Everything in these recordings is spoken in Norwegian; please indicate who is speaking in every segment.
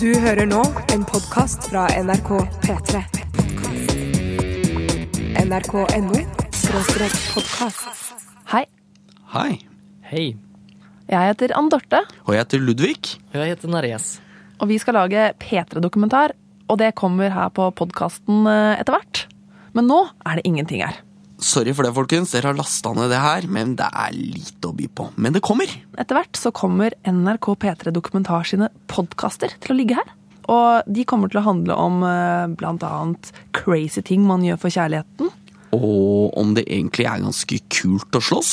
Speaker 1: Du hører nå en podkast fra NRK P3. NRK.no skråstrek podkast.
Speaker 2: Hei,
Speaker 3: Hei.
Speaker 4: Hei.
Speaker 2: jeg heter Andorte,
Speaker 3: Og jeg heter Ludvig.
Speaker 4: Jeg heter Narjes.
Speaker 2: og vi skal lage P3-dokumentar. Og det kommer her på podkasten etter hvert. Men nå er det ingenting her.
Speaker 3: Sorry for det, folkens. Dere har lasta ned det her, men det er lite å by på. Men det kommer.
Speaker 2: Etter hvert så kommer NRK P3 Dokumentar sine podkaster til å ligge her. Og de kommer til å handle om eh, blant annet crazy ting man gjør for kjærligheten.
Speaker 3: Og om det egentlig er ganske kult å slåss.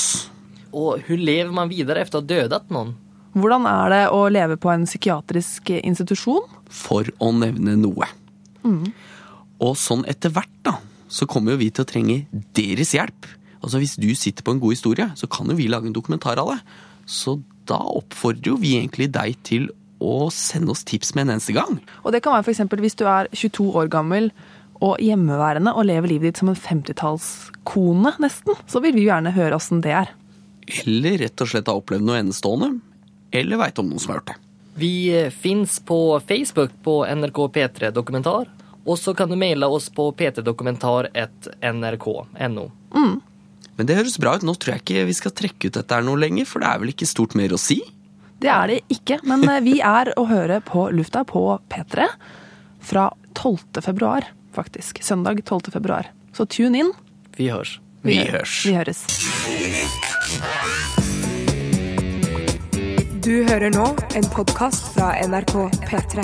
Speaker 4: Og hvordan lever man videre etter å ha dødet noen?
Speaker 2: Hvordan er det å leve på en psykiatrisk institusjon?
Speaker 3: For å nevne noe. Og sånn etter hvert, da, så kommer jo vi til å trenge deres hjelp. Altså Hvis du sitter på en god historie, så kan jo vi lage en dokumentar av det. Så da oppfordrer jo vi egentlig deg til å sende oss tips med en eneste gang.
Speaker 2: Og det kan være for eksempel hvis du er 22 år gammel og hjemmeværende og lever livet ditt som en 50-tallskone, nesten. Så vil vi jo gjerne høre åssen det er.
Speaker 3: Eller rett og slett har opplevd noe enestående. Eller veit om noen som har gjort det.
Speaker 4: Vi eh, finns på Facebook på NRK P3 Dokumentar. Og så kan du maila oss på p3dokumentar.nrk.no.
Speaker 3: Men det høres bra ut. Nå tror jeg ikke vi skal trekke ut dette her noe lenger, for det er vel ikke stort mer å si?
Speaker 2: Det er det ikke, men eh, vi er å høre på lufta på P3 fra 12. februar, faktisk. Søndag 12. februar. Så tune inn.
Speaker 4: Vi hørs.
Speaker 3: Vi
Speaker 2: hø-
Speaker 3: hørs.
Speaker 2: Vi høres.
Speaker 1: Du hører nå en podkast fra NRK P3.